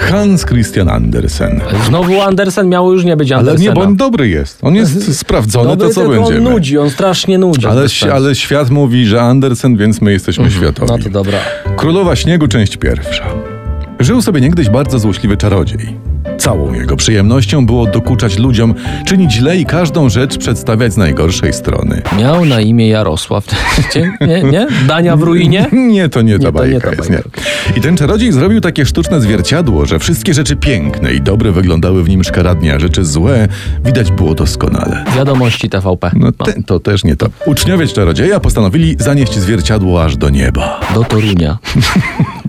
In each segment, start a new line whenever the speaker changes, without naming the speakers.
Hans Christian Andersen.
Znowu Andersen miało już nie No być
Ale
Andersena.
nie, bo on dobry jest. On jest sprawdzony,
Dobry,
to co
tylko
będziemy.
on nudzi, on strasznie nudzi.
Ale,
bez
świ-
sensu.
ale świat mówi, że Andersen, więc my jesteśmy światowi.
No to dobra.
Królowa Śniegu, część pierwsza. Żył sobie niegdyś bardzo złośliwy czarodziej. Całą jego przyjemnością było dokuczać ludziom, czynić źle i każdą rzecz przedstawiać z najgorszej strony.
Miał na imię Jarosław. nie, nie, nie? Dania w ruinie?
Nie, to nie ta
Nie, to nie
bajka
ta
jest, nie.
bajka.
I ten czarodziej zrobił takie sztuczne zwierciadło, że wszystkie rzeczy piękne i dobre wyglądały w nim szkaradnie, a rzeczy złe widać było doskonale.
Wiadomości TVP.
No te, to też nie to. Uczniowie czarodzieja postanowili zanieść zwierciadło aż do nieba.
Do Torunia.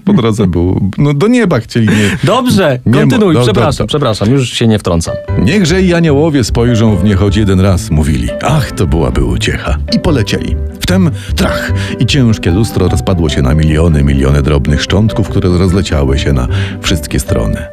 Po drodze było... No do nieba chcieli... Nie,
no, Dobrze,
Nie
kontynuuj.
mo- do- do-
przepraszam,
do-
przepraszam, już się nie wtrącam.
Niechże i aniołowie spojrzą w nie choć jeden raz, mówili. Ach, to byłaby uciecha. I polecieli. Wtem trach i ciężkie lustro rozpadło się na miliony, miliony drobnych szczątków, które rozleciały się na wszystkie strony.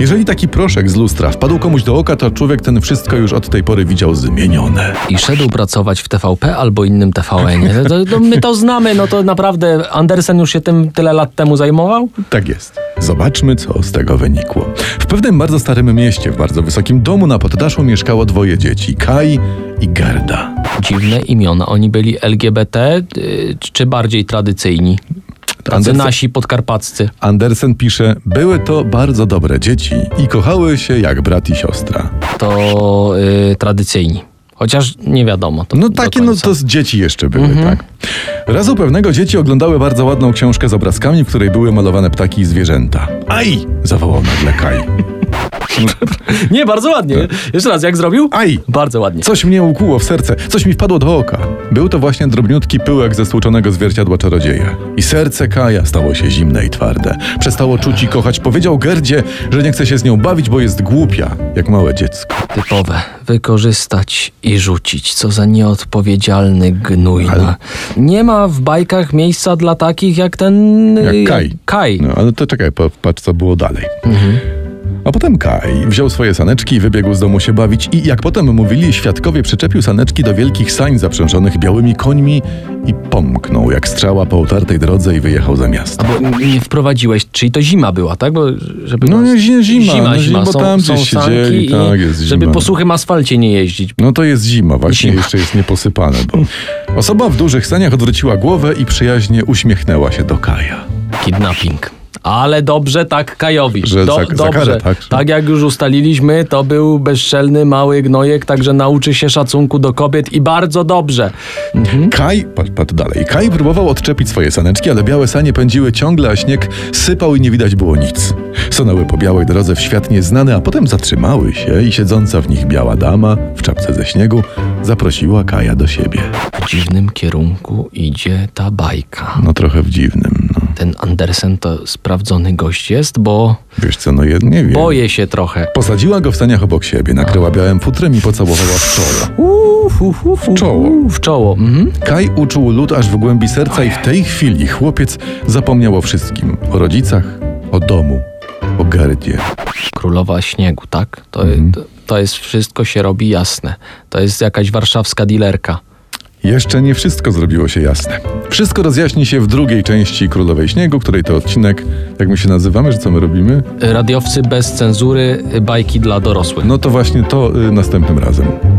Jeżeli taki proszek z lustra wpadł komuś do oka, to człowiek ten wszystko już od tej pory widział zmienione.
I szedł pracować w TVP albo innym TVN. To, to my to znamy, no to naprawdę Andersen już się tym tyle lat temu zajmował?
Tak jest. Zobaczmy, co z tego wynikło. W pewnym bardzo starym mieście, w bardzo wysokim domu na poddaszu mieszkało dwoje dzieci, Kai i Gerda.
Dziwne imiona. Oni byli LGBT y, czy bardziej tradycyjni? Tacy
Andersen-
znaczy nasi podkarpaccy.
Andersen pisze: Były to bardzo dobre dzieci i kochały się jak brat i siostra.
To y, tradycyjni. Chociaż nie wiadomo. To
No
do
takie, no
końca. Mhm.
to z dzieci jeszcze były, tak. Razu pewnego dzieci oglądały bardzo ładną książkę z obrazkami, w której były malowane ptaki i zwierzęta. Aj! zawołał nagle Kaj.
Nie, bardzo ładnie.
Tak.
Jeszcze raz, jak zrobił?
Aj!
Bardzo ładnie.
Coś mnie ukłuło w serce, coś mi wpadło do oka. Był to właśnie drobniutki pyłek ze stłuczonego zwierciadła czarodzieja. I serce Kaja stało się zimne i twarde. Przestało czuć i kochać. Powiedział Gerdzie, że nie chce się z nią bawić, bo jest głupia, jak małe dziecko.
Typowe. Wykorzystać i rzucić. Co za nieodpowiedzialny gnój.
Ale-
no. Nie ma w bajkach miejsca dla takich jak ten... y,
Jak Kaj.
Kaj.
No, ale to czekaj, po- patrz co było dalej. A potem Kaj wziął swoje saneczki i wybiegł z domu się bawić i jak potem mówili, świadkowie przyczepił saneczki do wielkich sań zaprzężonych białymi końmi i pomknął jak strzała po otartej drodze i wyjechał za miasto.
Bo n- nie wprowadziłeś, czyli to zima była, tak? Bo żeby
No nie, zima, zima, no, zima, bo
Są-
tam
są
gdzieś
sanki
siedzieli,
i
tak, jest zima.
Żeby po suchym asfalcie nie jeździć.
No to jest zima, właśnie
Zima.
jeszcze jest nieposypane. Bo osoba w dużych saniach odwróciła głowę i przyjaźnie uśmiechnęła się do Kaja.
Kidnapping. Ale dobrze tak Kajowi.
Że
Do,
za- za
dobrze.
karę, tak, że-
tak jak już ustaliliśmy, to był bezczelny mały gnojek, także nauczy się szacunku do kobiet i bardzo dobrze. Mhm. Hmm?
Kaj, patrz, patrz dalej, Kaj próbował odczepić swoje saneczki, ale białe sanie pędziły ciągle, a śnieg sypał i nie widać było nic. Sonęły po białej drodze w świat nieznany, a potem zatrzymały się i siedząca w nich biała dama w czapce ze śniegu zaprosiła Kaja do siebie.
W dziwnym kierunku idzie ta bajka.
No trochę w dziwnym, no.
Ten Andersen to sprawdzony gość jest, bo
Wiesz co, no ja nie wiem.
boję się trochę.
Posadziła go w saniach obok siebie, nakryła białym futrem i pocałowała w czoło.
Uf, uf, uf, uf,
Czoło.
W czoło. Mhm.
Kaj uczuł lód aż w głębi serca i w tej chwili chłopiec zapomniał o wszystkim. O rodzicach, o domu, o Gerdzie.
Królowa śniegu, tak? To, to,
Mhm.
to jest wszystko się robi jasne. To jest jakaś warszawska dilerka.
Jeszcze nie wszystko zrobiło się jasne. Wszystko rozjaśni się w drugiej części Królowej Śniegu, której to odcinek, jak my się nazywamy, że co my robimy?
Radiowcy bez cenzury, bajki dla dorosłych.
No to właśnie to y, następnym razem.